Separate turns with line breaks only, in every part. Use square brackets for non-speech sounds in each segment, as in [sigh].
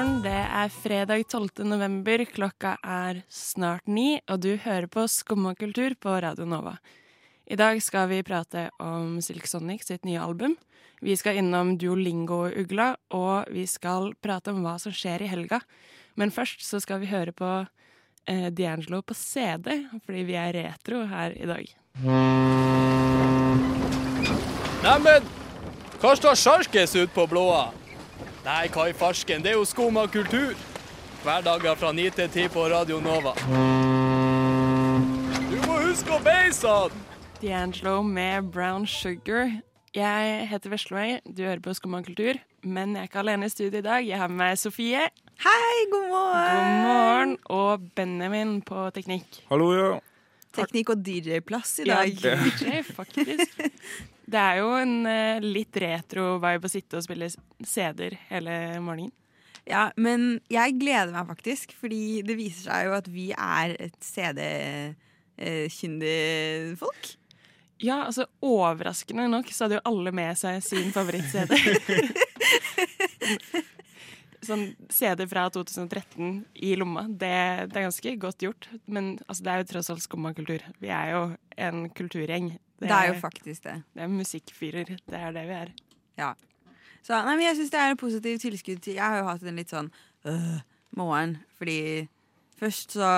er fredag 12. november, klokka er snart ni, og du hører på Skumma kultur på Radio Nova. I dag skal vi prate om Silk Sonic sitt nye album. Vi skal innom Duolingo-ugla, og vi skal prate om hva som skjer i helga. Men først så skal vi høre på eh, D'Angelo på CD, fordi vi er retro her i dag.
Neimen, hva står sjarkes ut på blåa? Nei, hva i farsken, det er jo skum av kultur. Hverdager fra 9 til 10 på Radio Nova. Du må huske å beise han!
D'Angelo med Brown Sugar. Jeg heter Veslemøy, du hører på Skumma kultur, men jeg er ikke alene i studio i dag. Jeg har med meg Sofie.
Hei, god morgen!
God morgen, og Benjamin på teknikk.
Hallo, ja.
Teknikk- og DJ-plass i
Ja,
dag.
DJ, faktisk. Det er jo en eh, litt retro vibe å sitte og spille s- CD-er hele morgenen.
Ja, men jeg gleder meg faktisk, fordi det viser seg jo at vi er et CD-kyndig folk.
Ja, altså overraskende nok så hadde jo alle med seg sin
[laughs]
favoritt-CD. sånn CD fra 2013 i lomma, det, det er ganske godt gjort. Men altså, det er jo tross alt skumma kultur. Vi er jo en kulturgjeng.
Det er jo faktisk det.
det er musikkfyrer. Det er det vi er.
Ja. Så nei, men jeg syns det er et positivt tilskudd til Jeg har jo hatt en litt sånn øh, morgen, fordi først så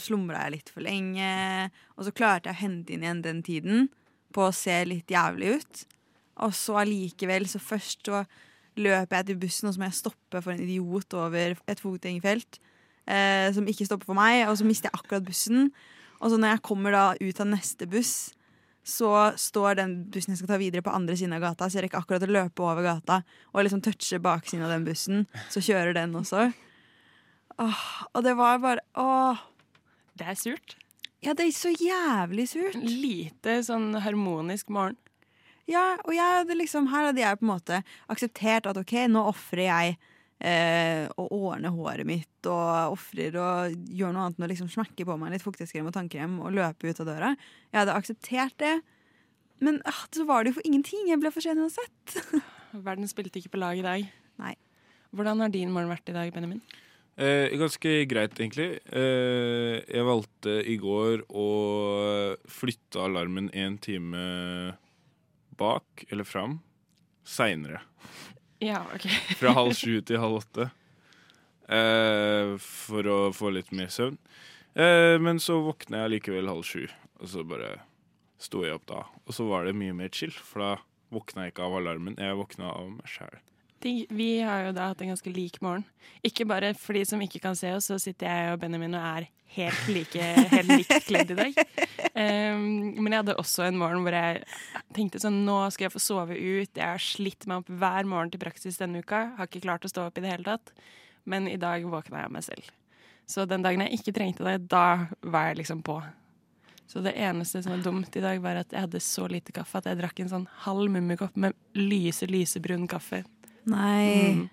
slumra jeg litt for lenge, og så klarte jeg å hente inn igjen den tiden på å se litt jævlig ut. Og så allikevel, så først så løper jeg til bussen, og så må jeg stoppe for en idiot over et fotgjengerfelt eh, som ikke stopper for meg, og så mister jeg akkurat bussen. Og så når jeg kommer da ut av neste buss, så står den bussen jeg skal ta videre på andre siden av gata, så jeg rekker akkurat å løpe over gata og liksom touche baksiden av den bussen. Så kjører den også. Åh, og det var bare Åh.
Det er surt.
Ja, det er så jævlig surt.
En lite sånn harmonisk morgen.
Ja, og jeg hadde liksom, her hadde jeg på en måte akseptert at ok, nå ofrer jeg eh, å ordne håret mitt og ofrer å gjøre noe annet enn å liksom smekke på meg litt fuktighetskrem og tannkrem og løpe ut av døra. Jeg hadde akseptert det, men ah, så var det jo for ingenting. Jeg ble for sen uansett.
Verden spilte ikke på lag i dag.
Nei.
Hvordan har din morgen vært i dag, Benjamin?
Eh, ganske greit, egentlig. Eh, jeg valgte i går å flytte alarmen en time bak eller fram. Seinere.
Ja, ok.
Fra halv sju til halv åtte. Eh, for å få litt mer søvn. Eh, men så våkna jeg likevel halv sju, og så bare sto jeg opp da. Og så var det mye mer chill, for da våkna jeg ikke av alarmen, jeg våkna av meg sjæl.
Ting- Vi har jo da hatt en ganske lik morgen. Ikke bare for de som ikke kan se oss, så sitter jeg og Benjamin og er helt like, helt likt kledd i dag. Um, men jeg hadde også en morgen hvor jeg tenkte sånn Nå skal jeg få sove ut. Jeg har slitt meg opp hver morgen til praksis denne uka. Har ikke klart å stå opp i det hele tatt. Men i dag våkna jeg av meg selv. Så den dagen jeg ikke trengte det, da var jeg liksom på. Så det eneste som var dumt i dag, var at jeg hadde så lite kaffe at jeg drakk en sånn halv mummikopp med lyse, lysebrun kaffe.
Nei.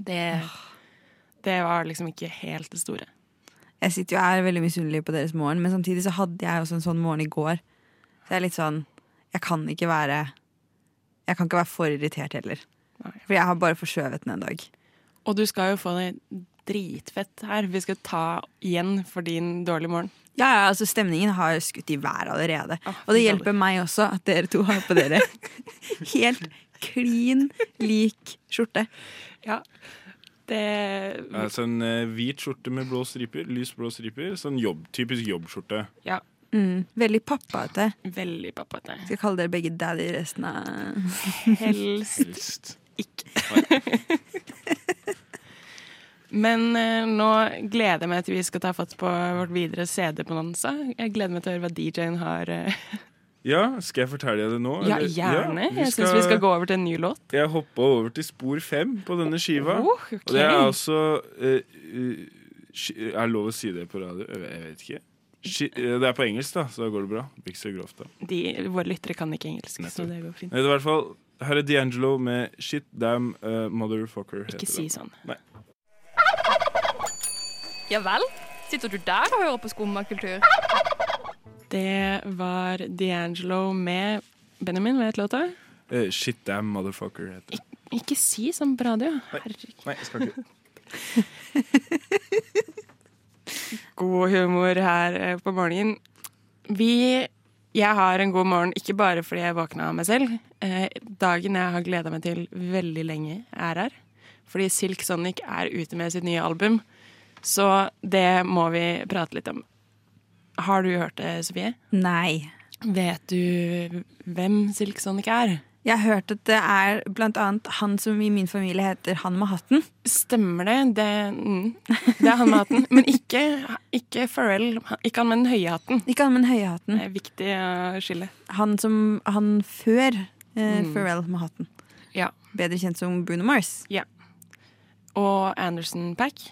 Det, det var liksom ikke helt det store.
Jeg sitter jo og er veldig misunnelig på deres morgen, men samtidig så hadde jeg også en sånn morgen i går. Så jeg er litt sånn Jeg kan ikke være Jeg kan ikke være for irritert heller.
Nei.
For jeg har bare forskjøvet den en dag.
Og du skal jo få det dritfett her. Vi skal ta igjen for din dårlige morgen.
Ja, ja, altså Stemningen har skutt i været allerede.
Å,
og det
fy
hjelper meg også at dere to har på
[laughs]
dere helt klin lik skjorte.
Ja. Det
Ja, sånn eh, hvit skjorte med blå striper, lys blå striper. Sånn jobb, typisk jobbskjorte.
Ja,
Mm, veldig pappaete.
veldig [laughs] pappate.
Skal kalle dere begge daddy resten av
Helst
Helst.
Men eh, nå gleder jeg meg til vi skal ta fatt på vårt videre CD-bonanza. Jeg gleder meg til å høre hva DJ-en har eh,
[laughs] Ja, skal jeg fortelle deg det nå?
Ja,
eller?
gjerne.
vi
Jeg syns vi skal gå over til en ny låt.
Jeg hoppa over til spor fem på denne skiva.
Oh, ok.
Og det er altså eh, eh, ski- Er det lov å si det på radio? Jeg vet- jeg vet ikke. Ski- eh, det er på engelsk, da, så da går det bra. Det blir ikke så grovt, da.
De, våre lyttere kan ikke engelsk, så det går fint.
Men i hvert fall, her er D'Angelo med Shit Damn eh, Motherfucker. heter
Ikke si
den.
sånn.
Ja vel? Sitter du der og hører på skummakultur?
Det var D'Angelo med Benjamin, vet låta?
Eh, Shit Damn Motherfucker heter den.
Ikke si sånn på radio. Herregud.
Nei, jeg skal ikke.
god humor her eh, på morgenen. Vi Jeg har en god morgen ikke bare fordi jeg våkna av meg selv. Eh, dagen jeg har gleda meg til veldig lenge, er her. Fordi Silk Sonic er ute med sitt nye album. Så det må vi prate litt om. Har du hørt det, Sofie?
Nei.
Vet du hvem Silk Sonic er?
Jeg har hørt at det er blant annet han som i min familie heter han med hatten.
Stemmer det. Det, mm. det er han med hatten. Men ikke, ikke Pharrell. Ikke han med den høye hatten.
Ikke han med den høye hatten.
Det er viktig å skille.
Han som Han før eh, Pharrell med hatten.
Ja.
Bedre kjent som Bruno Mars.
og Anderson Pack.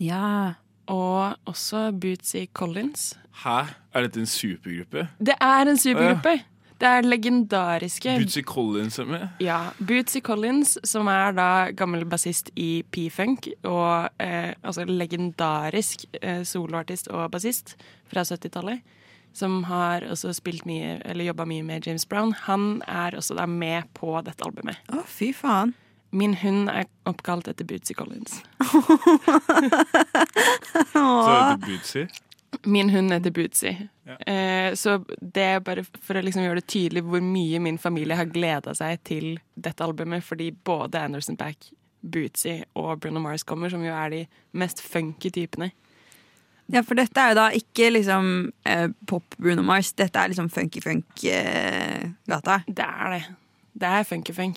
Ja.
Og også Bootsy Collins.
Hæ? Er dette en supergruppe?
Det er en supergruppe! Det er legendariske
Bootsy Collins er med?
ja, Bootsy Collins, som er da gammel bassist i P-Funk. Og eh, altså legendarisk eh, soloartist og bassist fra 70-tallet. Som har også spilt mye, eller jobba mye med James Brown. Han er også da med på dette albumet.
Å, fy faen.
Min hund er oppkalt etter Bootsy Collins.
Så heter det Bootsy?
Min hund heter Bootsy. Eh, så det er bare for å liksom gjøre det tydelig hvor mye min familie har gleda seg til dette albumet, fordi både Anderson Paak, Bootsy og Bruno Mars kommer, som jo er de mest funky typene.
Ja, for dette er jo da ikke liksom eh, pop Bruno Mars. Dette er liksom eh, funky-funk-gata.
Det er det. Det er funky-funk.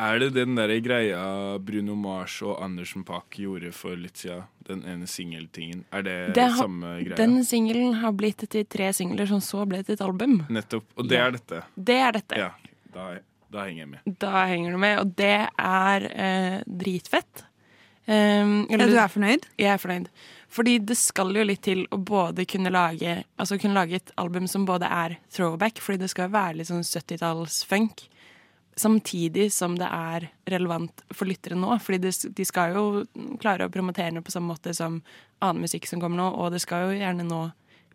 Er det den der greia Bruno Mars og Andersen Paak gjorde for litt siden? Den ene singeltingen. Er det,
Det har-
samme greia?
Den singelen har blitt til tre singler, som så ble til et album.
Nettopp. Og det
Ja.
er dette.
Det er Mm. dette.
Mm. Ja, da, da henger jeg med.
Da henger du med, og det er eh, dritfett. Um,
Ja, du er fornøyd?
Jeg er fornøyd. Fordi det skal jo litt til å både kunne lage Altså kunne lage et album som både er throwback, fordi det skal være litt sånn 70-talls-funk, samtidig som det er relevant for lyttere nå. Fordi det, s- de skal jo klare å promotere det på samme måte som annen musikk som kommer nå, og det skal jo gjerne nå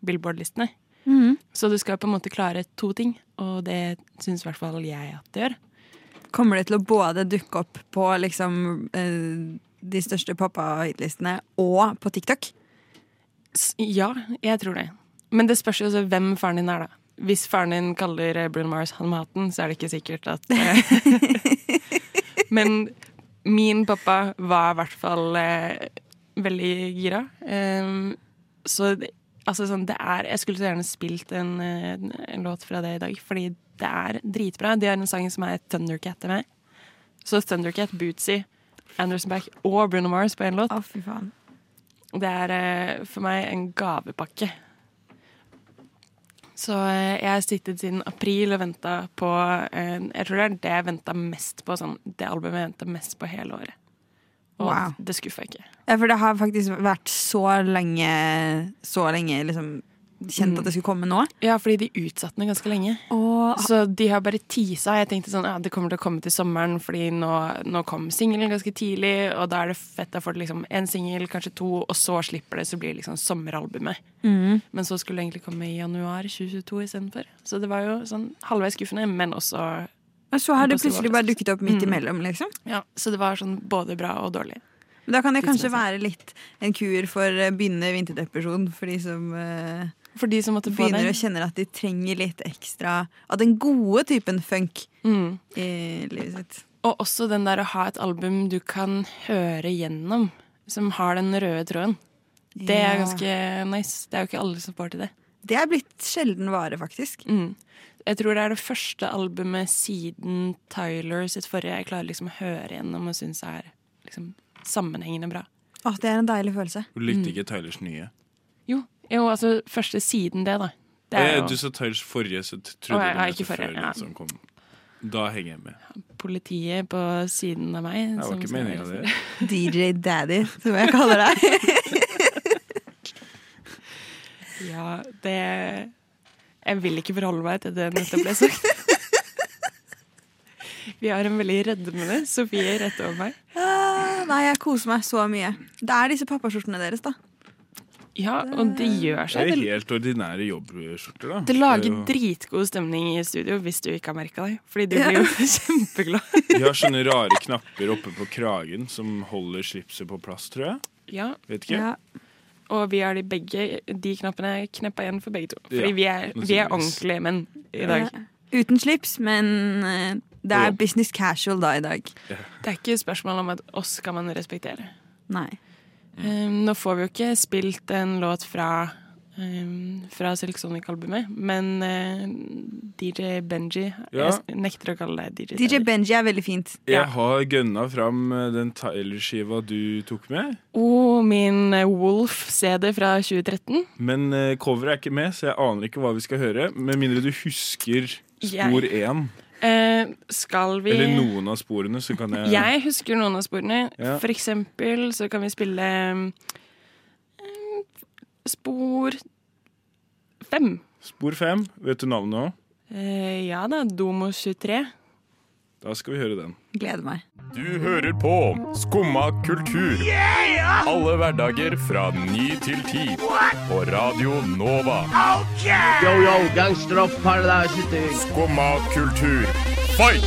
Billboard-listene.
Mm.
Så du skal på en måte klare to ting, og det syns i hvert fall jeg at det gjør.
Kommer det til å både dukke opp på liksom eh, de største pappa-hitlistene og på TikTok?
S- Ja, jeg tror det. Men det spørs jo også hvem faren din er, da. Hvis faren din kaller eh, Bruno Mars han med hatten, så er det ikke sikkert at eh, [laughs] Men min pappa var i hvert fall eh, veldig gira. Ehm, så det- altså sånn, det er Jeg skulle så gjerne spilt en, eh, en låt fra det i dag, fordi det er dritbra. De har en sang som er Thundercat til meg. Så Thundercat, Bootsy, Anderson Back og Bruno Mars på én låt.
Å, fy faen.
Det er eh, for meg en gavepakke. Så eh, jeg har sittet siden april og venta på eh, Jeg tror det er det jeg venta mest på. Sånn, det albumet jeg venta mest på hele året. Og
Wow.
det skuffa ikke.
Ja, for det har faktisk vært så lenge Så lenge liksom kjent at det skulle komme nå.
Ja, fordi de utsatte den ganske lenge.
Og
[laughs] Så de har bare teasa. Jeg tenkte sånn, ja, det kommer til å komme til sommeren, fordi nå, nå kom singelen ganske tidlig, og da er det fett å få liksom en singel, kanskje to, og så slipper det, så blir det liksom sommeralbumet.
Mm.
Men så skulle det egentlig komme i januar 2022 istedenfor. Så det var jo sånn halvveis skuffende, men også
så har det plutselig bare dukket opp
Mm.
midt imellom, liksom.
Ja, så det var sånn både bra og dårlig.
Men da kan det kanskje være litt en kur for eh, begynnende vinterdepresjon for de som eh,
For de som måtte få
begynner
det.
å kjenne at de trenger litt ekstra av den gode typen funk
Mm.
i livet sitt.
Og også den der å ha et album du kan høre gjennom, som har den røde tråden. Det er
Ja.
ganske nice. Det er jo ikke alle som får til det.
Det er blitt sjelden vare, faktisk.
Mm. Jeg tror det er det første albumet siden Tyler sitt forrige jeg klarer liksom å høre gjennom og syns er liksom sammenhengende bra.
Åh, det er en deilig følelse.
Du likte ikke Tylers nye.
Jo, jo altså første siden det, da. Det er
Eh,
jo
du sa Tylers forrige, så t-
Å,
trodde
ja,
du mente
ikke forrige,
før
ja.
den som kom. Da henger jeg med.
politiet på siden av meg.
Det
sånn
var
som
ikke
skal
meninga,
være-
det.
DJ Daddy, som jeg kaller deg. [laughs]
Ja, det Jeg vil ikke forholde meg til det nettopp ble sagt. [laughs] Vi har en veldig rødmende Sofie rett over meg.
Ah, Nei, jeg koser meg så mye. Det er disse pappaskjortene deres, da.
Ja, og det gjør
Det
seg.
er
Det,
helt ordinære jobbskjorter, da.
det lager
er jo-
dritgod stemning i studio hvis du ikke har merka det. Fordi du blir jo [laughs] kjempeglad.
De har sånne rare knapper oppe på kragen som holder slipset på plass, tror jeg.
Ja,
Vet ikke.
Ja.
og vi har de begge de knappene kneppa igjen for begge to. Fordi
Ja,
vi, er, vi er
naturligvis.
ordentlige menn i
Ja.
dag.
Uten slips, men eh, det
Ja.
er business casual da i dag.
Det er ikke spørsmål om at oss skal man respektere.
Nei.
Mm.
Um, nå får vi jo ikke spilt en låt fra, um, fra Silk Sonic-albumet, men uh, DJ Benji
Ja.
Jeg nekter å kalle deg DJ.
DJ
Benji.
Benji er veldig fint.
Ja.
Jeg har gønna fram eh, den Tyler-skiva du tok med,
Og min eh, Wolf-CD fra 2013.
men eh, coveret er ikke med, så jeg aner ikke hva vi skal høre. Med mindre du husker spor én,
Eh, skal vi
eller noen av sporene, så kan jeg
Jeg husker noen av sporene.
Eh. Ja.
For eksempel så kan vi spille mm, spor fem.
Spor fem. Vet du navnet òg?
Eh, ja da, Domo 23.
Da skal vi høre den.
Gleder meg.
Du hører på Skumma kultur. Alle hverdager fra ny til ti. På Radio Nova.
Yo, yo, gangsterrock paradise city.
Skumma kultur. Fight!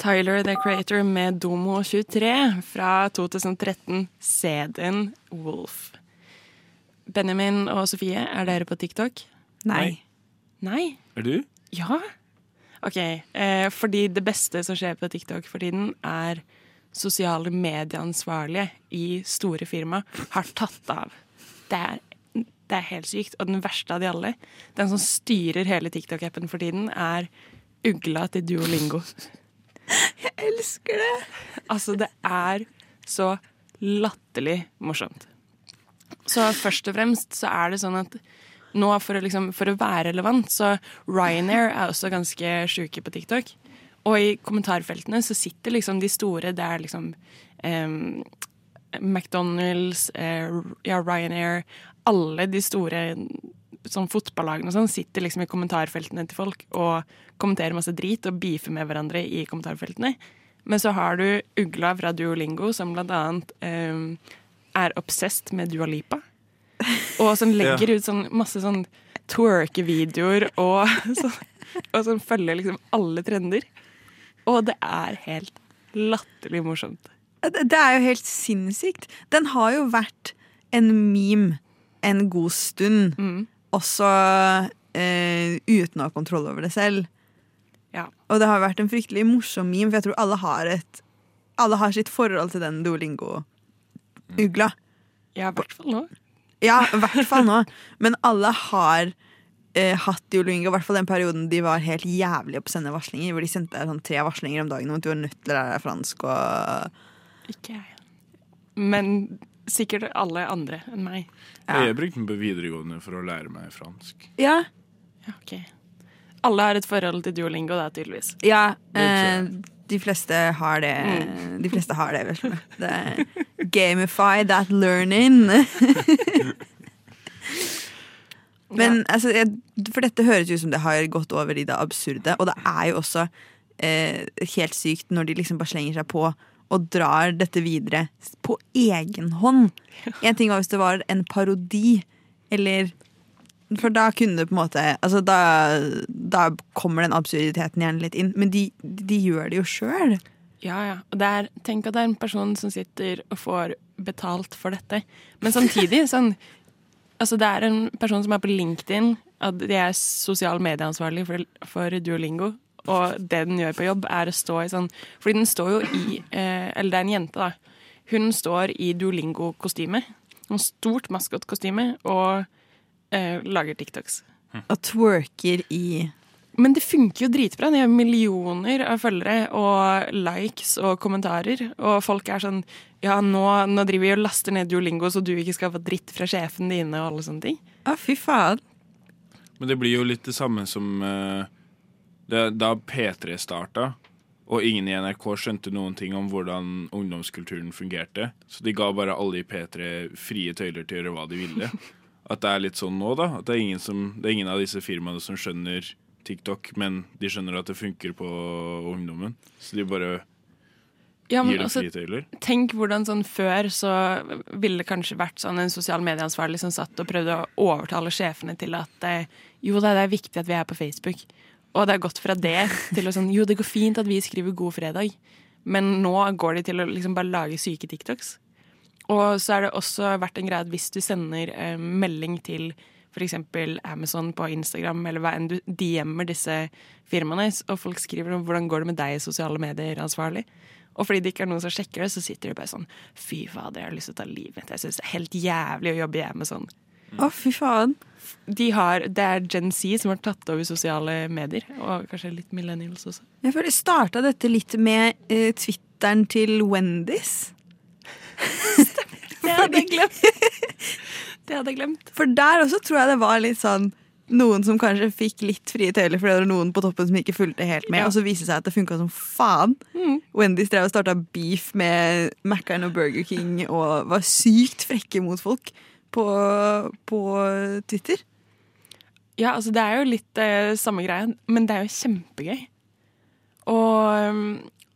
Tyler the Creator med Domo 23 fra 2013, CD-en Wolf. Benjamin og Sofie, er dere på TikTok?
Nei.
Nei?
Er du?
Ja? OK. Eh, fordi det beste som skjer på TikTok for tiden, er sosiale medieansvarlige i store firma har tatt av. Det er, det er helt sykt. Og den verste av de alle, den som styrer hele TikTok-appen for tiden, er ugla til Duolingo.
Elsker det!
Altså, det er så latterlig morsomt. Så først og fremst så er det sånn at nå for å, liksom, for å være relevant, så Ryanair er også ganske sjuke på TikTok. Og i kommentarfeltene så sitter liksom de store der liksom em, McDonald's, eh, ja, Ryanair Alle de store sånn fotballagene og sånn sitter liksom i kommentarfeltene til folk og kommenterer masse drit og beefer med hverandre i kommentarfeltene. Men så har du Ugla fra Duolingo, som blant annet em, er obsessed med Dua Lipa. Og som legger ut sånn, masse sånn twerke-videoer og, [laughs] sånn, og som følger liksom alle trender. Og det er helt latterlig morsomt.
Det det er jo helt sinnssykt. Den har jo vært en meme en god stund. Også eh, uten å ha kontroll over det selv.
Ja.
Og det har vært en fryktelig morsom meme, for jeg tror alle har, et, alle har sitt forhold til den Duolingo-ugla.
Ja, i hvert fall nå.
Ja, i hvert fall nå. Men alle har eh, hatt Duolingo, i hvert fall den perioden de var helt jævlig på å sende varslinger, hvor de sendte deg sånn tre varslinger om dagen om at du var nødt til å lære deg fransk og
Ikke jeg. Men sikkert alle andre enn meg.
Ja.
Jeg brukte den på videregående for å lære meg fransk.
Ja.
Ja, ok. Alle har et forhold til Duolingo, da, tydeligvis.
ja eh,
Det
de fleste har det. De fleste har det, vel. Det er gamify that learning. Men altså, jeg, For dette høres jo ut som det har gått over i det absurde, og det er jo også eh, helt sykt når de liksom bare slenger seg på og drar dette videre på egen hånd. En ting var hvis det var en parodi, eller For da kunne det på en måte altså da, da kommer den absurditeten gjerne litt inn, men de, de gjør det jo sjøl.
Ja, ja. Og det er, tenk at det er en person som sitter og får betalt for dette. Men samtidig, sånn Altså, det er en person som er på LinkedIn, at de er sosial medieansvarlig for, for Duolingo. Og det den gjør på jobb, er å stå i sånn Fordi den står jo i eh, Eller det er en jente, da. Hun står i Duolingo-kostyme. Noe stort maskotkostyme. Og eh, lager TikToks.
Og twerker i
Men det funker jo dritbra. De har millioner av følgere og likes og kommentarer. Og folk er sånn Ja, nå, nå driver vi og laster ned Duolingo, så du ikke skal få dritt fra sjefen dine og alle sånne ting.
Å, fy faen.
Men det blir jo litt det samme som eh, det, da P3 starta, og ingen i NRK skjønte noen ting om hvordan ungdomskulturen fungerte. Så de ga bare alle i P3 frie tøyler til å gjøre hva de ville. [laughs] At det er litt sånn nå, da. At det er ingen, som, det er ingen av disse firmaene som skjønner TikTok, men de skjønner at det funker på ungdommen. Så de bare
Ja, men altså
Gir det
også,
fritøyler?
tenk hvordan sånn før så ville det kanskje vært sånn en sosial medieansvarlig som satt og prøvde å overtale sjefene til at eh, jo da, det er viktig at vi er på Facebook. Og det har gått fra det til å sånn jo, det går fint at vi skriver God fredag, men nå går de til å liksom bare lage syke TikToks. Og så er det også vært en greie at hvis du sender eh, melding til f.eks. Amazon på Instagram, eller hva enn du DM-er disse firmaene, s- og folk skriver om hvordan går det med deg i sosiale medier, ansvarlig. Og fordi det ikke er noen som sjekker det, så sitter de bare sånn Fy fader, jeg har lyst til å ta livet mitt. Jeg syns det er helt jævlig å jobbe i Amazon.
Å, fy faen.
De har, det er Gen Z som har tatt over sosiale medier, og kanskje litt millennials også.
Jeg føler starta dette litt med eh, Twitteren til Wendys.
Det hadde jeg glemt. [laughs] Det hadde jeg glemt.
For der også tror jeg det var litt sånn noen som kanskje fikk litt frie tøyler, for det var noen på toppen som ikke fulgte helt med.
Ja. Mm.
Og så viste det seg at det funka som faen. Wendys drev og starta beef med Mac'er'n og Burger King og var sykt frekke mot folk på, på Twitter.
Ja, altså det er jo litt eh, samme greia, men det er jo kjempegøy. Og um,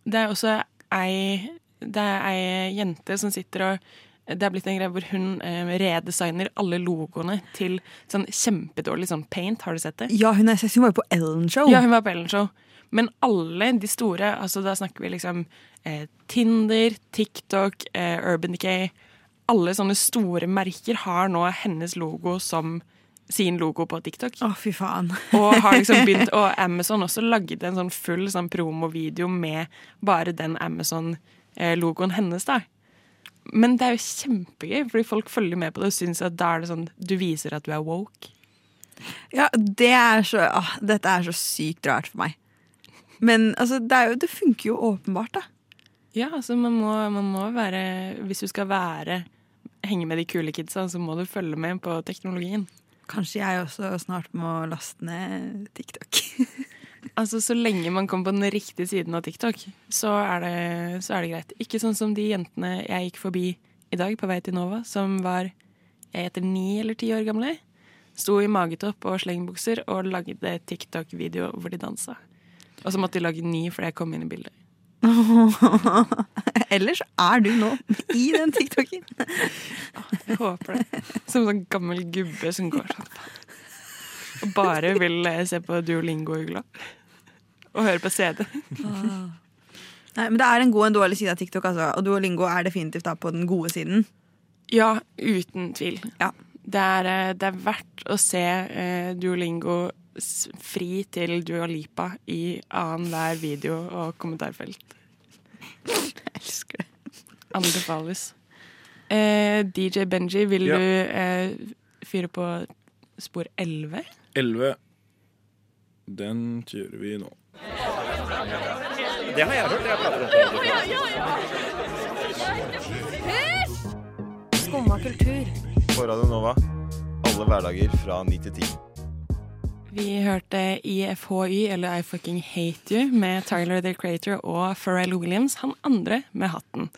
det er også ei, det er ei jente som sitter og det er blitt en greie hvor hun eh, redesigner alle logoene til sånn kjempedårlig sånn paint. Har du sett det?
Ja, hun, er, sexy, hun var jo på Ellen-show.
Ja, hun var på Ellenshow. Men alle de store, altså da snakker vi liksom eh, Tinder, TikTok, eh, Urban Decay Alle sånne store merker har nå hennes logo som sin logo på TikTok.
Å, fy faen.
Og har liksom begynt Og Amazon også lagde en sånn full sånn promovideo med bare den Amazon-logoen hennes, da. Men det er jo kjempegøy, fordi folk følger med på det og syns at da er det sånn Du viser at du er woke.
Ja, det er så, åh, dette er så sykt rart for meg. Men altså, det, er jo, det funker jo åpenbart, da.
Ja, altså man må, man må være Hvis du skal være henge med de kule kidsa, så må du følge med på teknologien.
Kanskje jeg også snart må laste ned TikTok.
Altså Så lenge man kommer på den riktige siden av TikTok, så er det, så er det greit. Ikke sånn som de jentene jeg gikk forbi i dag på vei til Nova, som var jeg heter ni eller ti år gamle. Sto i magetopp og slengbukser og lagde TikTok-video hvor de dansa. Og så måtte de lage ny fordi jeg kom inn i bildet.
[laughs] Ellers er du nå i den TikToken.
Jeg håper det. Som en sånn gammel gubbe som går sånn. Og bare vil eh, se på Duolingo-ugla. Og høre på CD.
Nei, men Det er en god og en dårlig side av TikTok, altså. og Duolingo er definitivt da på den gode siden.
Ja, uten tvil.
Ja.
Det, er, eh, det er verdt å se eh, Duolingo s- fri til Dua Lipa i annenhver video og kommentarfelt.
Jeg elsker det.
Anbefales. Eh, DJ Benji, vil
Ja.
du eh, fyre på spor 11?
11. Den kjører vi nå.
Skumma kultur.
På Radio Nova. Alle hverdager fra 9 til 10.
Vi hørte E IFHY, eller I Fucking Hate You, med Tyler the Creator og Pharrell Williams. Han andre med hatten.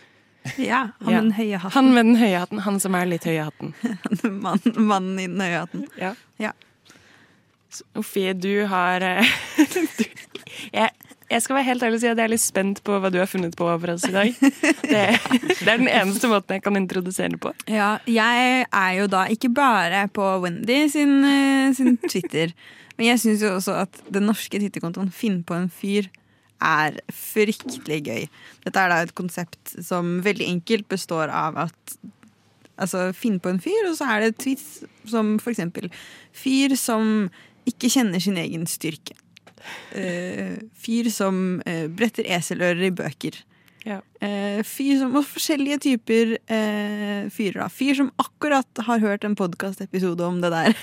Ja, Han
Ja.
med den høye hatten.
Han med den høye hatten. Han som er litt høye hatten.
[laughs] Mannen, mannen i den høye hatten.
Ja.
Ja.
Sofie, du har eh, [laughs] du, jeg, jeg skal være helt ærlig og si at jeg er litt spent på hva du har funnet på for oss i [laughs] dag. Det, det er den eneste måten jeg kan introdusere på.
Ja, jeg er jo da ikke bare på Wendy sin, eh, sin Twitter, men jeg syns jo også at den norske Twitter-kontoen Finn på en fyr er fryktelig gøy. Dette er da et konsept som veldig enkelt består av at altså, Finn på en fyr, og så er det tweets som for eksempel Fyr som ikke kjenner sin egen styrke. Eh, fyr som eh, bretter eselører i bøker.
Ja.
Eh, fyr som, og forskjellige typer eh, fyrer. da. Fyr som akkurat har hørt en podkastepisode om det der.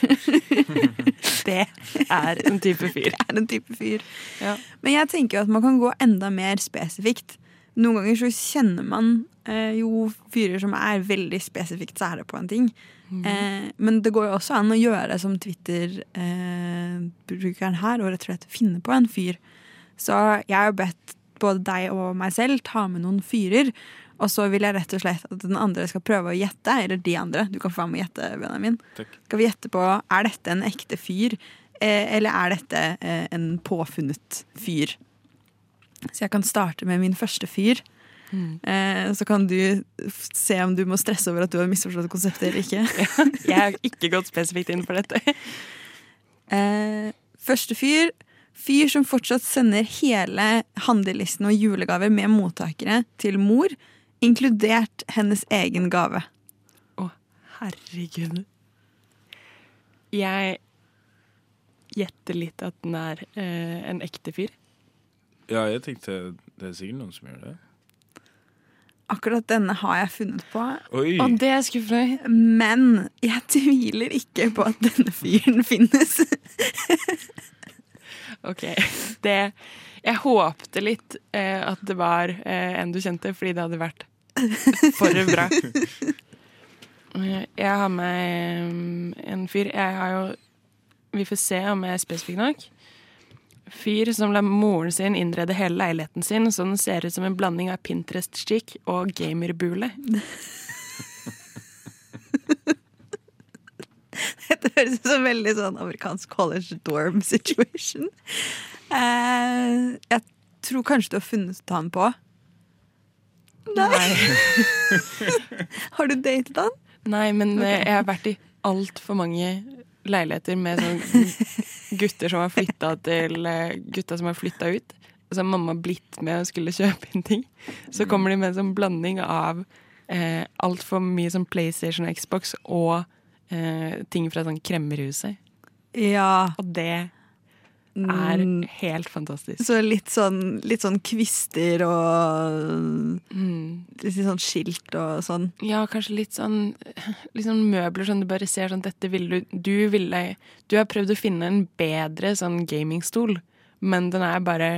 [laughs]
Det er en type fyr.
[laughs] er en type fyr.
Ja.
Men jeg tenker jo at man kan gå enda mer spesifikt. Noen ganger så kjenner man eh, jo fyrer som er veldig spesifikt sære på en ting. Eh, men det går jo også an å gjøre som Twitter-brukeren her, og rett og slett finne på en fyr. Så jeg har bedt både deg og meg selv ta med noen fyrer. Og så vil jeg rett og slett at den andre skal prøve å gjette. Eller de andre. Du kan få være med å gjette, Benjamin.
Takk.
Skal vi gjette på er dette en ekte fyr, eh, eller er dette eh, en påfunnet fyr? Så jeg kan starte med min første fyr. Eh, så kan du f- se om du må stresse over at du har misforstått konseptet eller ikke.
Jeg har ikke gått spesifikt inn for dette.
Eh, første fyr Fyr som fortsatt sender hele handlelisten og julegaver med mottakere til mor, inkludert hennes egen gave.
Å, herregud. Jeg gjetter litt at den er eh, en ekte fyr.
Ja, jeg tenkte det er sikkert noen som gjør det.
Akkurat denne har jeg funnet på,
Oi!
Og det er skuffende.
men jeg tviler ikke på at denne fyren finnes. [laughs]
Ok, det Jeg håpte litt eh, at det var eh, en du kjente, fordi det hadde vært for bra. Eh, Jeg har med eh, en fyr Jeg har jo Vi får se om jeg er spesifikk nok. Fyr som lar moren sin innrede hele leiligheten sin så den ser ut som en blanding av Pinterest-skikk og gamerbule.
Det høres ut som veldig sånn amerikansk college dorm situation. Eh, jeg tror kanskje du har funnet han på. Nei. [laughs] har du datet han?
Nei, men eh, jeg har vært i altfor mange leiligheter med sånn gutter som har flytta til eh, gutta som har flytta ut. Så har mamma blitt med og skulle kjøpe inn ting. Så kommer de med en sånn blanding av eh, altfor mye sånn PlayStation og Xbox og eh, ting fra sånn kremmerhuset.
Ja.
Og det er helt fantastisk.
Så litt sånn, litt sånn kvister og
Mm.
litt sånn skilt og sånn.
Ja, kanskje litt sånn, [laughs] litt sånn møbler som du bare ser sånn Dette ville du Du ville Du har prøvd å finne en bedre sånn gamingstol, men den er bare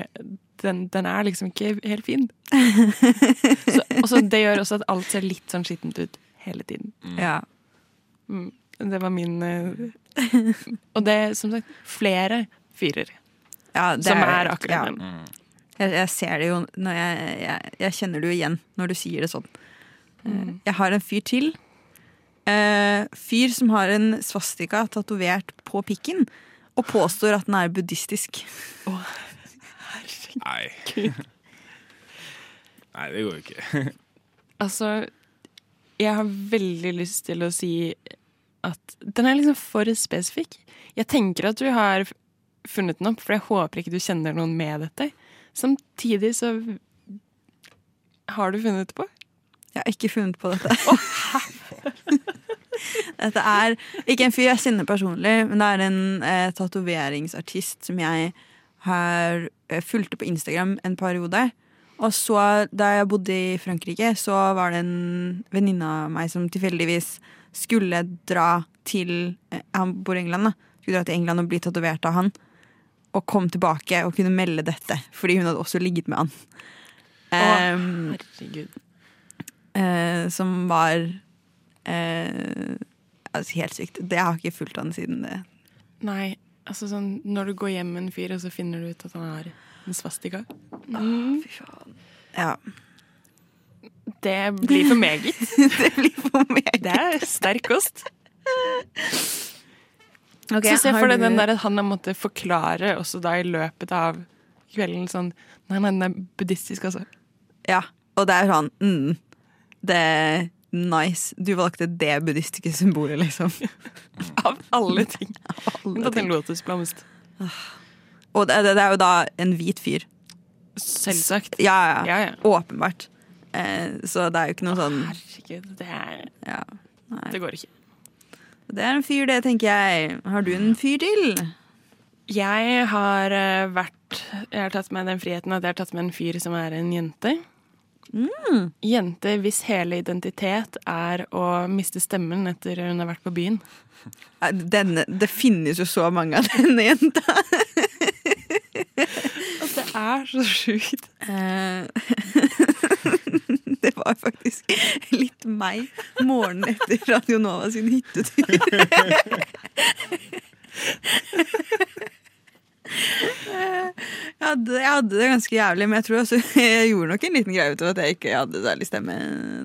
Den, den er liksom ikke helt fin.
[laughs]
Så, og så det gjør også at alt ser litt sånn skittent ut hele tiden.
Ja.
Det var min eh,
[laughs]
Og det, som sagt, flere fyrer
Ja, det
som
jo
er
helt- ja.
akkurat den.
Jeg, jeg ser det jo når jeg, jeg, jeg kjenner det jo igjen når du sier det sånn. Eh, Jeg har en fyr til. Eh, fyr som har en svastika tatovert på pikken. Og påstår at den er buddhistisk.
Nei. Nei, det går jo ikke.
Altså, jeg har veldig lyst til å si at den er liksom for spesifikk. Jeg tenker at du har f- funnet den opp, for jeg håper ikke du kjenner noen med dette. Samtidig så har du funnet det på.
Jeg har ikke funnet på [laughs] dette. dette er ikke en fyr jeg kjenner personlig, men det er en eh, tatoveringsartist som jeg har eh, fulgte på Instagram en periode. Og så, da jeg bodde i Frankrike, så var det en venninne av meg som tilfeldigvis skulle dra til eh, Han bor i England, da. Skulle dra til England og bli tatovert av han. Og kom tilbake og kunne melde dette, fordi hun hadde også ligget med han. Ehm,
Herregud.
eh, som var eh, altså helt sykt. Det har ikke fulgt han siden det.
Nei, altså sånn når du går hjem med en fyr, og så finner du ut at han har en svastika.
Ja. [laughs]
Det blir for meget.
det blir for meg.
[laughs] Det er [laughs] sterk kost.
Okay,
så se
har
for deg
du-
den der at han har måttet forklare også da i løpet av kvelden sånn Nei, nei, den er buddhistisk, altså.
Ja, og det er sånn mm, Det er nice. Du valgte det buddhistiske symbolet, liksom.
[laughs] Av alle ting.
Alle
Unntatt en
ting.
lotusblomst.
Og det, det, det er jo da en hvit fyr.
Selvsagt.
Ja, ja.
Ja, ja.
Åpenbart. Eh, så det er jo ikke noe sånn
Herregud, det, er,
ja.
det går ikke.
Det er en fyr, det, tenker jeg. Har du en fyr til?
Jeg har eh, vært Jeg har tatt meg den friheten at jeg har tatt med en fyr som er en jente.
Mm.
Jente hvis hele identitet er å miste stemmen etter hun har vært på byen.
Ja, Denne, det finnes jo så mange av denne jenta.
Det er så sjukt.
Eh, [laughs] det var faktisk litt meg morgenen etter Radio Nova sin hyttetur. Eh, jeg, hadde, jeg hadde det ganske jævlig, men jeg tror også, [laughs] jeg gjorde nok en liten greie ut av at jeg ikke hadde særlig stemme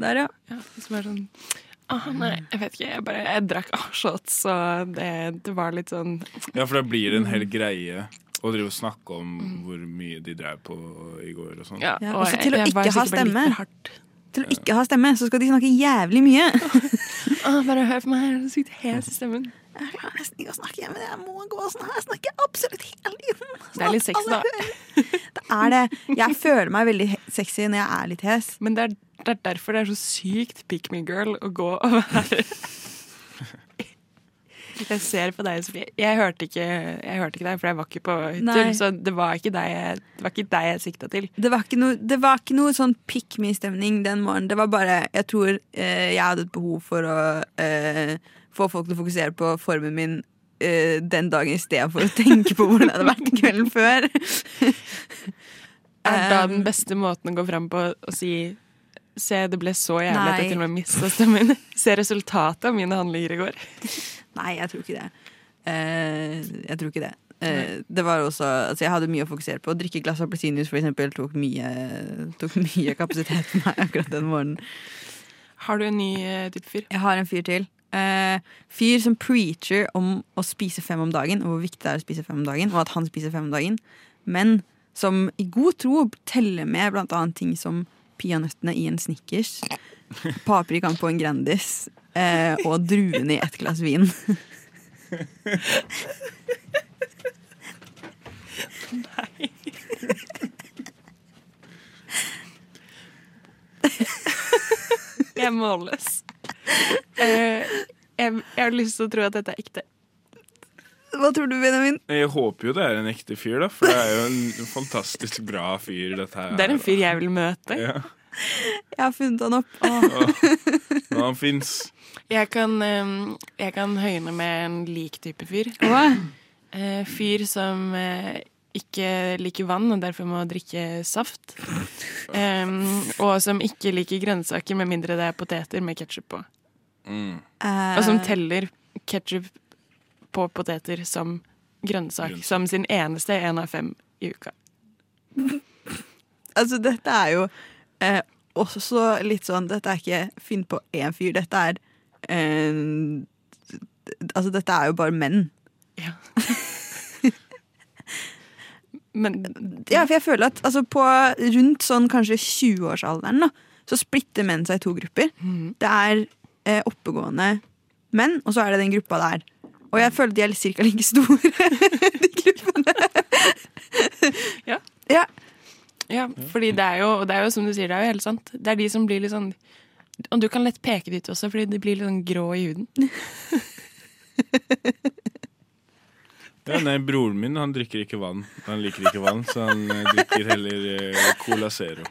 der, ja.
Ja, som er sånn ah, Nei, jeg vet ikke. Jeg bare jeg drakk ah, shots, så det, det var litt sånn
Ja, for da blir det en hel greie. Og drive og snakke om hvor mye de drev på i går og sånn.
Mm. Ja,
Ja,
og
også
jeg-
til å
jeg var
ikke ha
sikkert bare litt
stemme.
for hardt.
Til å ikke ha stemme, så skal de snakke jævlig mye.
Å, bare hør på meg, jeg er så sykt hes i stemmen.
Jeg klarer nesten ikke å snakke hjemme. Jeg må gå sånn her. Jeg snakker absolutt hele tiden.
Det er litt sexy, da.
Det er det. Jeg føler meg veldig he- sexy når jeg er litt hes.
Men det er, det er derfor det er så sykt pick me girl å gå og være [laughs] Jeg ser på deg, Sofie. Jeg hørte ikke, jeg hørte ikke deg, for jeg var ikke på hytter.
Nei.
Så det var ikke deg jeg, det var ikke deg jeg sikta til.
Det var ikke noe, det var ikke noe sånn pick me-stemning den morgenen. Det var bare Jeg tror eh, jeg hadde et behov for å eh, få folk til å fokusere på formen min eh, den dagen i stedet for å tenke på hvordan det hadde vært kvelden før.
Er da
Um,
den beste måten å gå fram på å si Se, det ble så jævlig at
Nei.
jeg til og med mista stemmen. [laughs] Se resultatet av mine handlinger i går.
Nei, jeg tror ikke det. Eh, jeg tror ikke det. Eh, det var også, altså jeg hadde mye å fokusere på. Å drikke et glass appelsinjuice for eksempel, tok mye, tok mye kapasitet for meg akkurat den morgenen.
Har du en ny eh, type fyr?
Jeg har en fyr til. Eh, fyr som preacher om å spise fem om dagen, og hvor viktig det er å spise fem om dagen, og at han spiser fem om dagen. Men som i god tro teller med blant annet ting som peanøttene i en Snickers, paprikaen på en Grandis eh, og druene i ett glass vin.
Jeg er
[laughs]
målløs. Eh, jeg, jeg har lyst til å tro at dette er ekte.
Hva tror du, Benjamin?
Jeg håper jo det er en ekte fyr, da, for det er jo en fantastisk bra fyr, dette her.
Det er en fyr jeg vil møte.
Ja.
Jeg har funnet han opp.
Når han fins.
Jeg kan, eh, jeg kan høyne med en lik type fyr. Eh, fyr som eh, ikke liker vann og derfor må drikke saft. Em, og som ikke liker grønnsaker med mindre det er poteter med ketsjup på.
Mm.
Eh,
Og som teller ketsjup på poteter som grønnsak
Grønnsak.
som sin eneste én av fem i uka.
altså, dette er jo eh, også litt sånn Dette er ikke finn på én fyr. Dette er eh, Altså, dette er jo bare menn.
Men
Ja, for jeg føler at altså, på rundt sånn kanskje 20-årsalderen da, så splitter menn seg i to grupper.
Mhm.
Det er eh, oppegående menn, og så er det den gruppa der. Og jeg føler de er cirka like store, [laughs] de gruppene.
Ja.
ja.
Ja, fordi det er jo, og det er jo som du sier, det er jo helt sant. Det er de som blir litt sånn Og du kan lett peke dit også, fordi de blir litt sånn grå i huden.
Ja, nei, broren min han drikker ikke vann. Han liker ikke vann, så han eh, drikker heller eh, Cola Zero.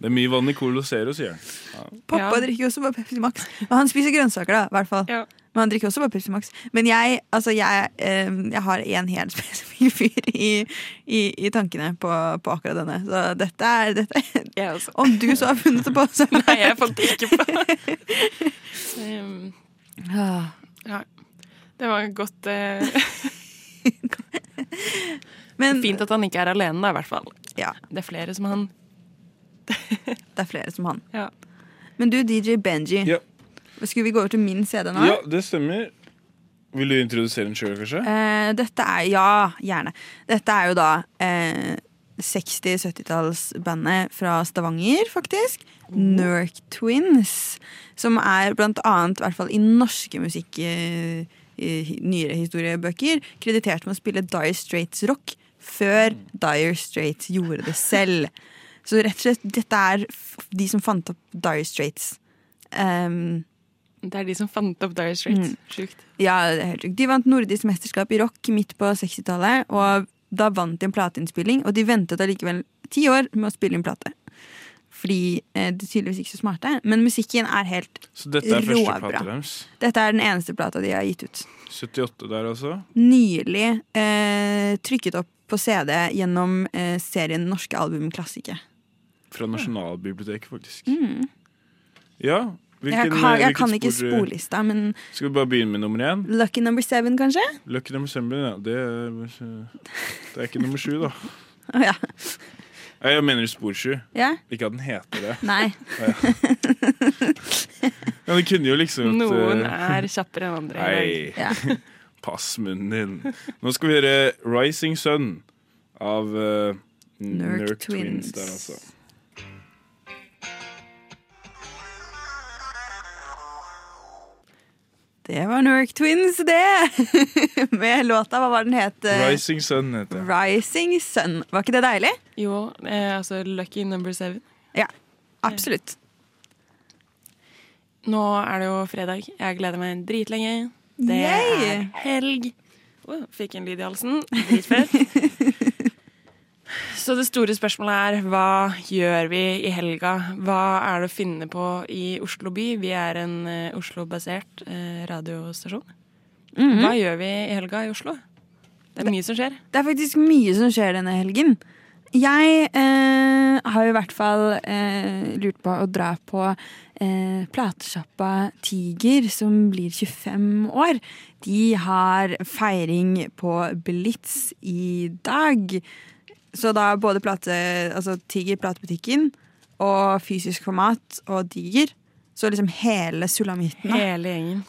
Det er mye vann i Cola Zero, sier han.
Pappa
Ja.
drikker jo også bare Pepsi Max. Men han spiser grønnsaker, da. i Hvert fall.
Ja.
Men han drikker også bare Pepsi Max. Men jeg, altså jeg, eh, jeg har en helt [laughs] spesifikk fyr i, i, i tankene på, på akkurat denne. Så dette er, dette er
Jeg også.
Om du så har funnet det på, så
[laughs]
er
Nei, jeg fant det ikke på. [laughs] Ehm,
Ah.
ja. Det var godt eh,
Men
Fint at han ikke er alene, da, i hvert fall.
Ja,
Det er flere som han.
det er flere som han.
Ja.
Men du, DJ Benji.
Ja.
Skulle vi gå over til min CD nå?
Ja, det stemmer. Vil du introdusere den sjøl, kanskje?
Eh, dette er Ja, gjerne. Dette er jo da eh, 60-70-tallsbandet fra Stavanger, faktisk. Nurk Twins. Som er blant annet, i hvert fall i norske musikk eh, i hi- nyere historiebøker, kreditert med å spille Dire Straits rock før Dire Straits gjorde det selv. Så rett og slett, dette er f- de som fant opp Dire Straits. Um,
Det er de som fant opp Dire Straits. Sjukt.
ja, det er helt sjukt. De vant nordisk mesterskap i rock midt på 60-tallet, og da vant de en plateinnspilling, og de ventet allikevel ti år med å spille inn plate. Fordi eh, de er tydeligvis ikke så smarte, men musikken er helt
Så dette er første
Råbra.
plata deres.
Dette er den eneste plata de har gitt ut.
78 der, altså.
Nylig eh, trykket opp på CD gjennom eh, serien Norske album klassiker.
Fra Nasjonalbiblioteket, faktisk. Ja. Hvilken,
Mm.
eh,
jeg kan, jeg
hvilket
kan ikke
spor-
sporlista, men
Skal vi bare begynne med nummer én?
Lucky Number Seven, kanskje?
Lucky number seven, ja. Det er, det er ikke nummer sju,
[laughs]
da.
Å, ja.
Nei, Jeg mener spor sju.
ja?
Ikke at den heter det.
Nei.
Men det kunne jo liksom at,
Noen
eh,
er kjappere enn andre. i dag.
[laughs] Nei.
Ja.
Pass munnen din. Nå skal vi høre 'Rising Sun' av uh, Nerk,
Nerk Twins.
Twins. der altså.
Det var Nork Twins, det! [laughs] Med låta, hva var den het? eh?
Rising Sun heter det.
Rising Sun. Var ikke det deilig?
Jo, eh, altså Lucky number seven.
Ja, absolutt.
Nå er det jo fredag. Jeg gleder meg dritlenge. Det
Yay!
er helg. Wow, fikk en lyd i halsen. Dritfett. Så det store spørsmålet er hva gjør vi i helga? Hva er det å finne på i Oslo by? Vi er en eh, Oslo-basert eh, radiostasjon. Hva gjør vi i helga i Oslo? Det er mye som skjer.
Det er faktisk mye som skjer denne helgen. Jeg eh, har i hvert fall eh, lurt på å dra på eh, platesjappa Tiger, som blir 25 år. De har feiring på Blitz i dag. Så da er både plate, altså Tiger platebutikken og fysisk format og Diger. Så liksom hele sulamitten. da.
Hele gjengen.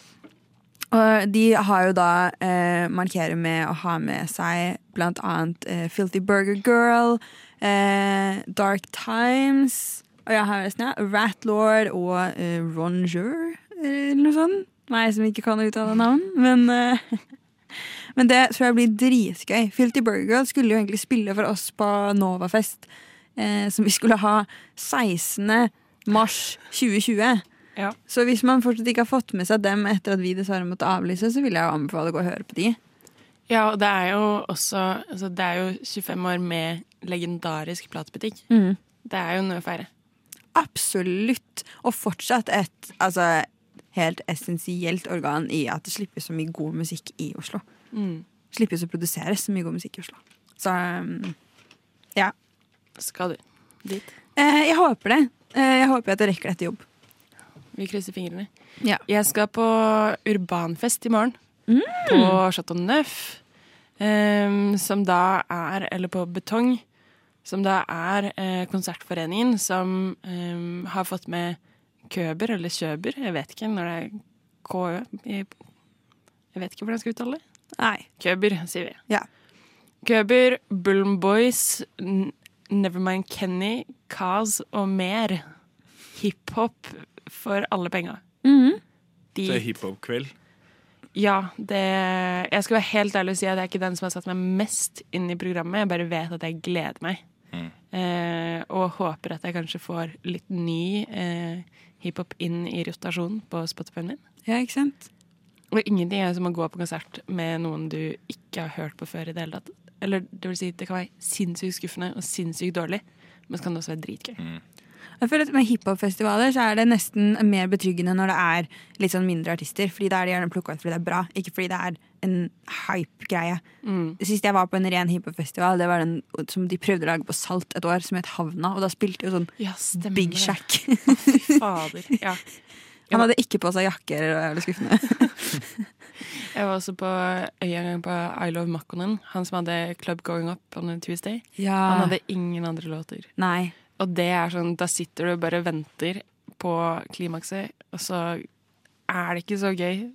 Og de har jo da eh, markerer med å ha med seg blant annet eh, Filthy Burger Girl, eh, Dark Times og jeg har resten, ja, Ratlord og eh, Ronger, eller noe sånt. Meg som ikke kan uttale navn, men eh, [laughs] Men det tror jeg blir dritgøy. Filthy Burger Girl skulle jo egentlig spille for oss på Novafest, eh, som vi skulle ha 16. mars 2020.
Ja.
Så hvis man fortsatt ikke har fått med seg dem etter at vi dessverre måtte avlyse, så vil jeg jo anbefale å gå og høre på de.
Ja, og det er jo også altså Det er jo 25 år med legendarisk platebutikk. Det er jo noe å feire.
Absolutt. Og fortsatt et altså, helt essensielt organ i at det slippes så mye god musikk i Oslo. Slippes å produsere så mye god musikk i Oslo. Så um, ja.
Skal du dit?
Eh, jeg håper det. Eh, jeg håper at jeg rekker det etter jobb.
Vi krysser fingrene.
Ja.
Jeg skal på urbanfest i morgen. På Chateau Neuf. em, som da er Eller på Betong. Som da er eh, Konsertforeningen som em, har fått med Køber, eller Kjøber, jeg vet ikke når det er KØ Jeg jeg vet ikke hvordan jeg skal uttale det.
Nei.
Køber, sier vi.
Ja.
Køber, Bullen Boys, N- Nevermind Kenny, Kaz og mer. Hiphop for alle penga.
Mhm.
De-
Det er hiphop-kveld.
ja, det Jeg skal være helt ærlig og si at det er ikke den som har satt meg mest inn i programmet. Jeg bare vet at jeg gleder meg.
Mm.
Eh, og håper at jeg kanskje får litt ny eh, hiphop inn i rotasjonen på Spotify-en min.
Ja, ikke sant?
Og ingenting er som å gå på konsert med noen du ikke har hørt på før i det hele tatt. Eller det vil si, det kan være sinnssykt skuffende og sinnssykt dårlig, men så kan det også være dritgøy.
Jeg føler at Med hiphopfestivaler så er det nesten mer betryggende når det er litt sånn mindre artister. Fordi da er de gjerne plukka ut fordi det er bra, ikke fordi det er en hype-greie.
Mm.
Sist jeg var på en ren hiphopfestival, det var den som de prøvde å lage på Salt et år, som het Havna. Og da spilte jo sånn
Ja, stemmer.
Big
det.
Shack.
[laughs] Fader. Ja.
[laughs] Han hadde ikke på seg jakke, eller det var jævlig skuffende.
Jeg var også på Øya en gang på I Love Makonnen. Han som hadde Club Going Up on a Tuesday. Han hadde ingen andre låter.
Nei.
Og det er sånn, da sitter du og bare venter på klimakset, og så er det ikke så gøy.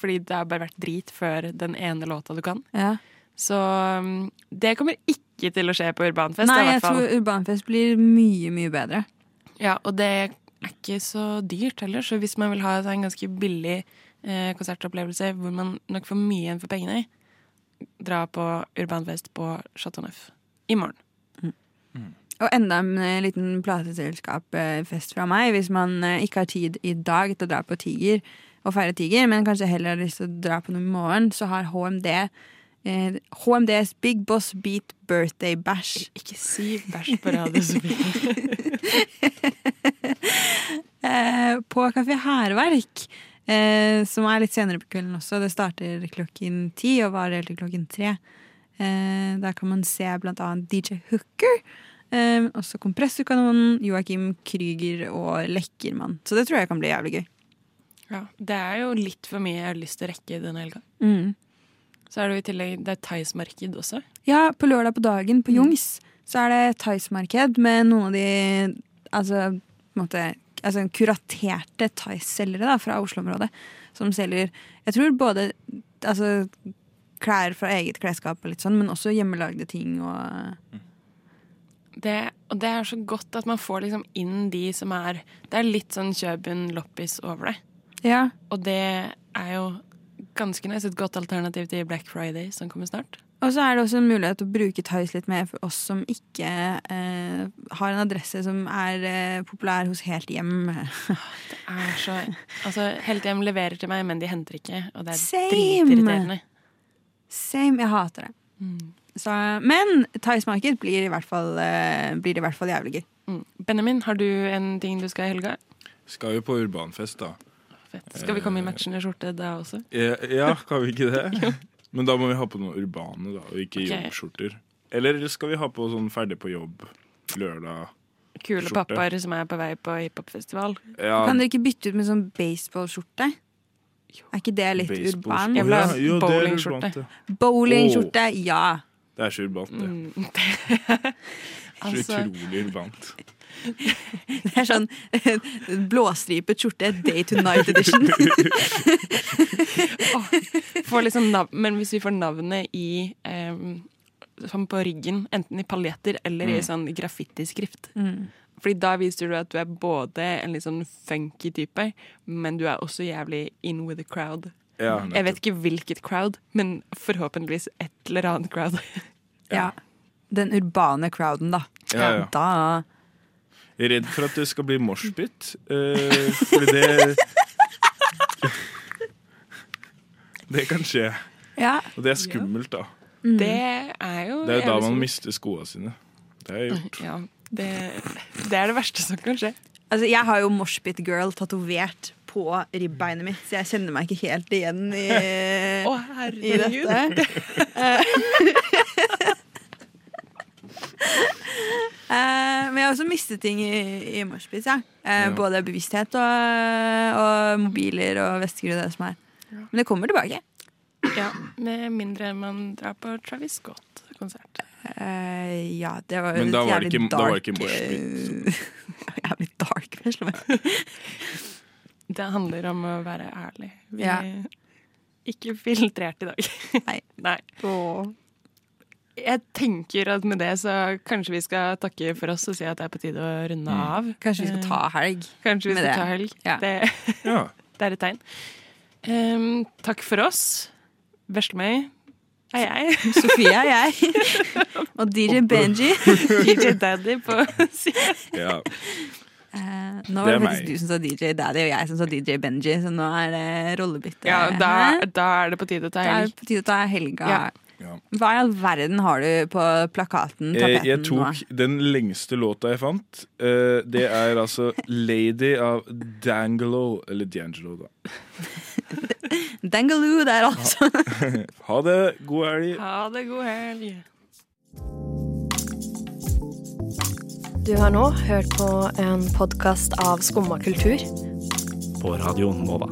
Fordi det har bare vært drit før den ene låta du kan.
Ja.
Så um, det kommer ikke til å skje på Urbanfest.
Nei,
i hvert
jeg
fall.
tror Urbanfest blir mye, mye bedre.
Ja, og det er ikke så dyrt heller, så hvis man vil ha seg en ganske billig eh, konsertopplevelse hvor man nok får mye igjen for pengene, dra på Urbanfest på Chateau Neuf i morgen.
Og enda en eh, liten plateselskapfest fra meg, hvis man eh, ikke har tid i dag til å dra på Tiger og feire Tiger, men kanskje heller har lyst til å dra på noe i morgen, så har HMD eh, HMDs Big Boss Beat Birthday Bash.
Ikke si bæsj på radio, Sofie.
eh, på Kafé Hærverk. Eh, som er litt senere på kvelden også. Det starter klokken ti og varer helt til klokken tre. Eh, der kan man se blant annet DJ Hooker. Eh, men også Kompressorkanonen, Joakim Krüger og Lekkermann. Så det tror jeg kan bli jævlig gøy.
[laughs] Ja, det er jo litt for mye jeg har lyst til å rekke denne helga. Så er det jo i tillegg det er Thais-marked også.
Ja, på lørdag på dagen på Jungs så er det Thais-marked med noen av de altså, på en måte, altså kuraterte Thais-selgere da, fra Oslo-området. Som selger jeg tror både altså, klær fra eget klesskap, og litt sånn, men også hjemmelagde ting. og...
Det, og det er så godt at man får liksom inn de som er Det er litt sånn Kjøben-loppis over det.
Ja,
Og det er jo ganske nice. Et godt alternativ til Black Friday som kommer snart.
Og så er det også en mulighet til å bruke Tice litt mer for oss som ikke eh, har en adresse som er eh, populær hos Helt Hjem. [laughs]
Er så, altså, Helthjem leverer til meg, men de henter ikke. Og det er
Same!
dritirriterende. Mm.
Same, jeg hater det. Så, men Tice Market blir i hvert fall, eh, blir i hvert fall jævlig gøy.
Mm. Benjamin, har du en ting du skal i helga?
Skal jo på urbanfest, da.
Fett. Skal vi komme i matchende skjorte da også?
Ja,
[laughs]
ja, kan vi ikke det? Men da må vi ha på noe urbane, da, og ikke
Ok.
jobbskjorter. Eller skal vi ha på sånn ferdig på jobb lørdag?
Kule
Skjorte.
pappaer som er på vei på hiphopfestival.
Ja,
Kan dere ikke bytte ut med sånn baseballskjorte? Er ikke det litt
baseball-
urban?
Jeg vil ha
Å, jo, det er
bowlingskjorte.
urbant, det.
Bowlingskjorte, ja.
Det er så urbant, det.
[laughs]
Så
Mm, Altså,
utrolig urbant.
Det er sånn [laughs] blåstripet skjorte, day to night
[laughs]
edition.
får liksom nav men hvis vi får navnet i em, Sånn på ryggen, enten i paljetter eller
Mm.
i sånn graffitiskrift. Fordi da viser du at du er både en litt sånn funky type, men du er også jævlig in with the crowd.
Ja,
Jeg vet ikke hvilket crowd, men forhåpentligvis et eller annet crowd.
Ja. Den urbane crowden, da.
Ja, ja.
Da
Jeg er Redd for at det skal bli moshpit.
[laughs]
eh, fordi det [laughs] Det kan skje.
Ja.
Og det er skummelt, da.
Mm.
Det er jo
Det er jo da
jævlig
man
sånn-
mister skoa sine. Det er
[laughs]
gjort.
Ja, det, det er det verste som kan skje.
Altså, jeg har jo Moshpit Girl tatovert på ribbeinet mitt, så jeg kjenner meg ikke helt igjen i,
Å,
[laughs]
i
herregud.
dette. [laughs] Eh, men jeg har også mistet ting i, i moshpit. Ja. Eh,
Ja.
Både bevissthet og, og mobiler og vesker og det som er. Men det kommer tilbake.
Ja, med mindre man drar på Travis Scott-konsert.
Eh, ja, det var jo
Men da
et
var det
jævlig
ikke- da var det ikke
dark, eh, [laughs] Jævlig dark, men jeg slår meg.
Det handler om å være ærlig. Vi
Ja.
er ikke filtrert i dag.
Nei.
[laughs] Nei. Jeg tenker at med det så kanskje vi skal takke for oss og si at det er på tide å runde av.
Kanskje vi skal ta helg.
Kanskje vi
Mm. med
skal
det.
ta helg.
Ja.
Det
Ja.
Det er et tegn. Ehm, takk for oss. Veslemøy er
[laughs]
[laughs] jeg.
Sofie er jeg. Og DJ Benji.
DJ Daddy på [laughs] siden.
ja.
Eh, nå
Det
var
er
det faktisk
meg.
du som sa DJ Daddy, og jeg som sa DJ Benji, så nå er det rollebytte.
Ja, da,
Hæ?
da er det på tide å ta
Da er det
helg.
på tide å ta helga.
Ja.
Ja.
Hva i all verden har du på plakaten?
Jeg,
Tapeten,
Eh, jeg tok
nå?
den lengste låta jeg fant. Eh, det er altså 'Lady' av Dangelo. Eller D'Angelo, da.
Dangaloo der, altså.
Ha det. God helg.
Ha det god helg.
Du har nå hørt på en podkast av Skumma kultur.
På Radio Nova.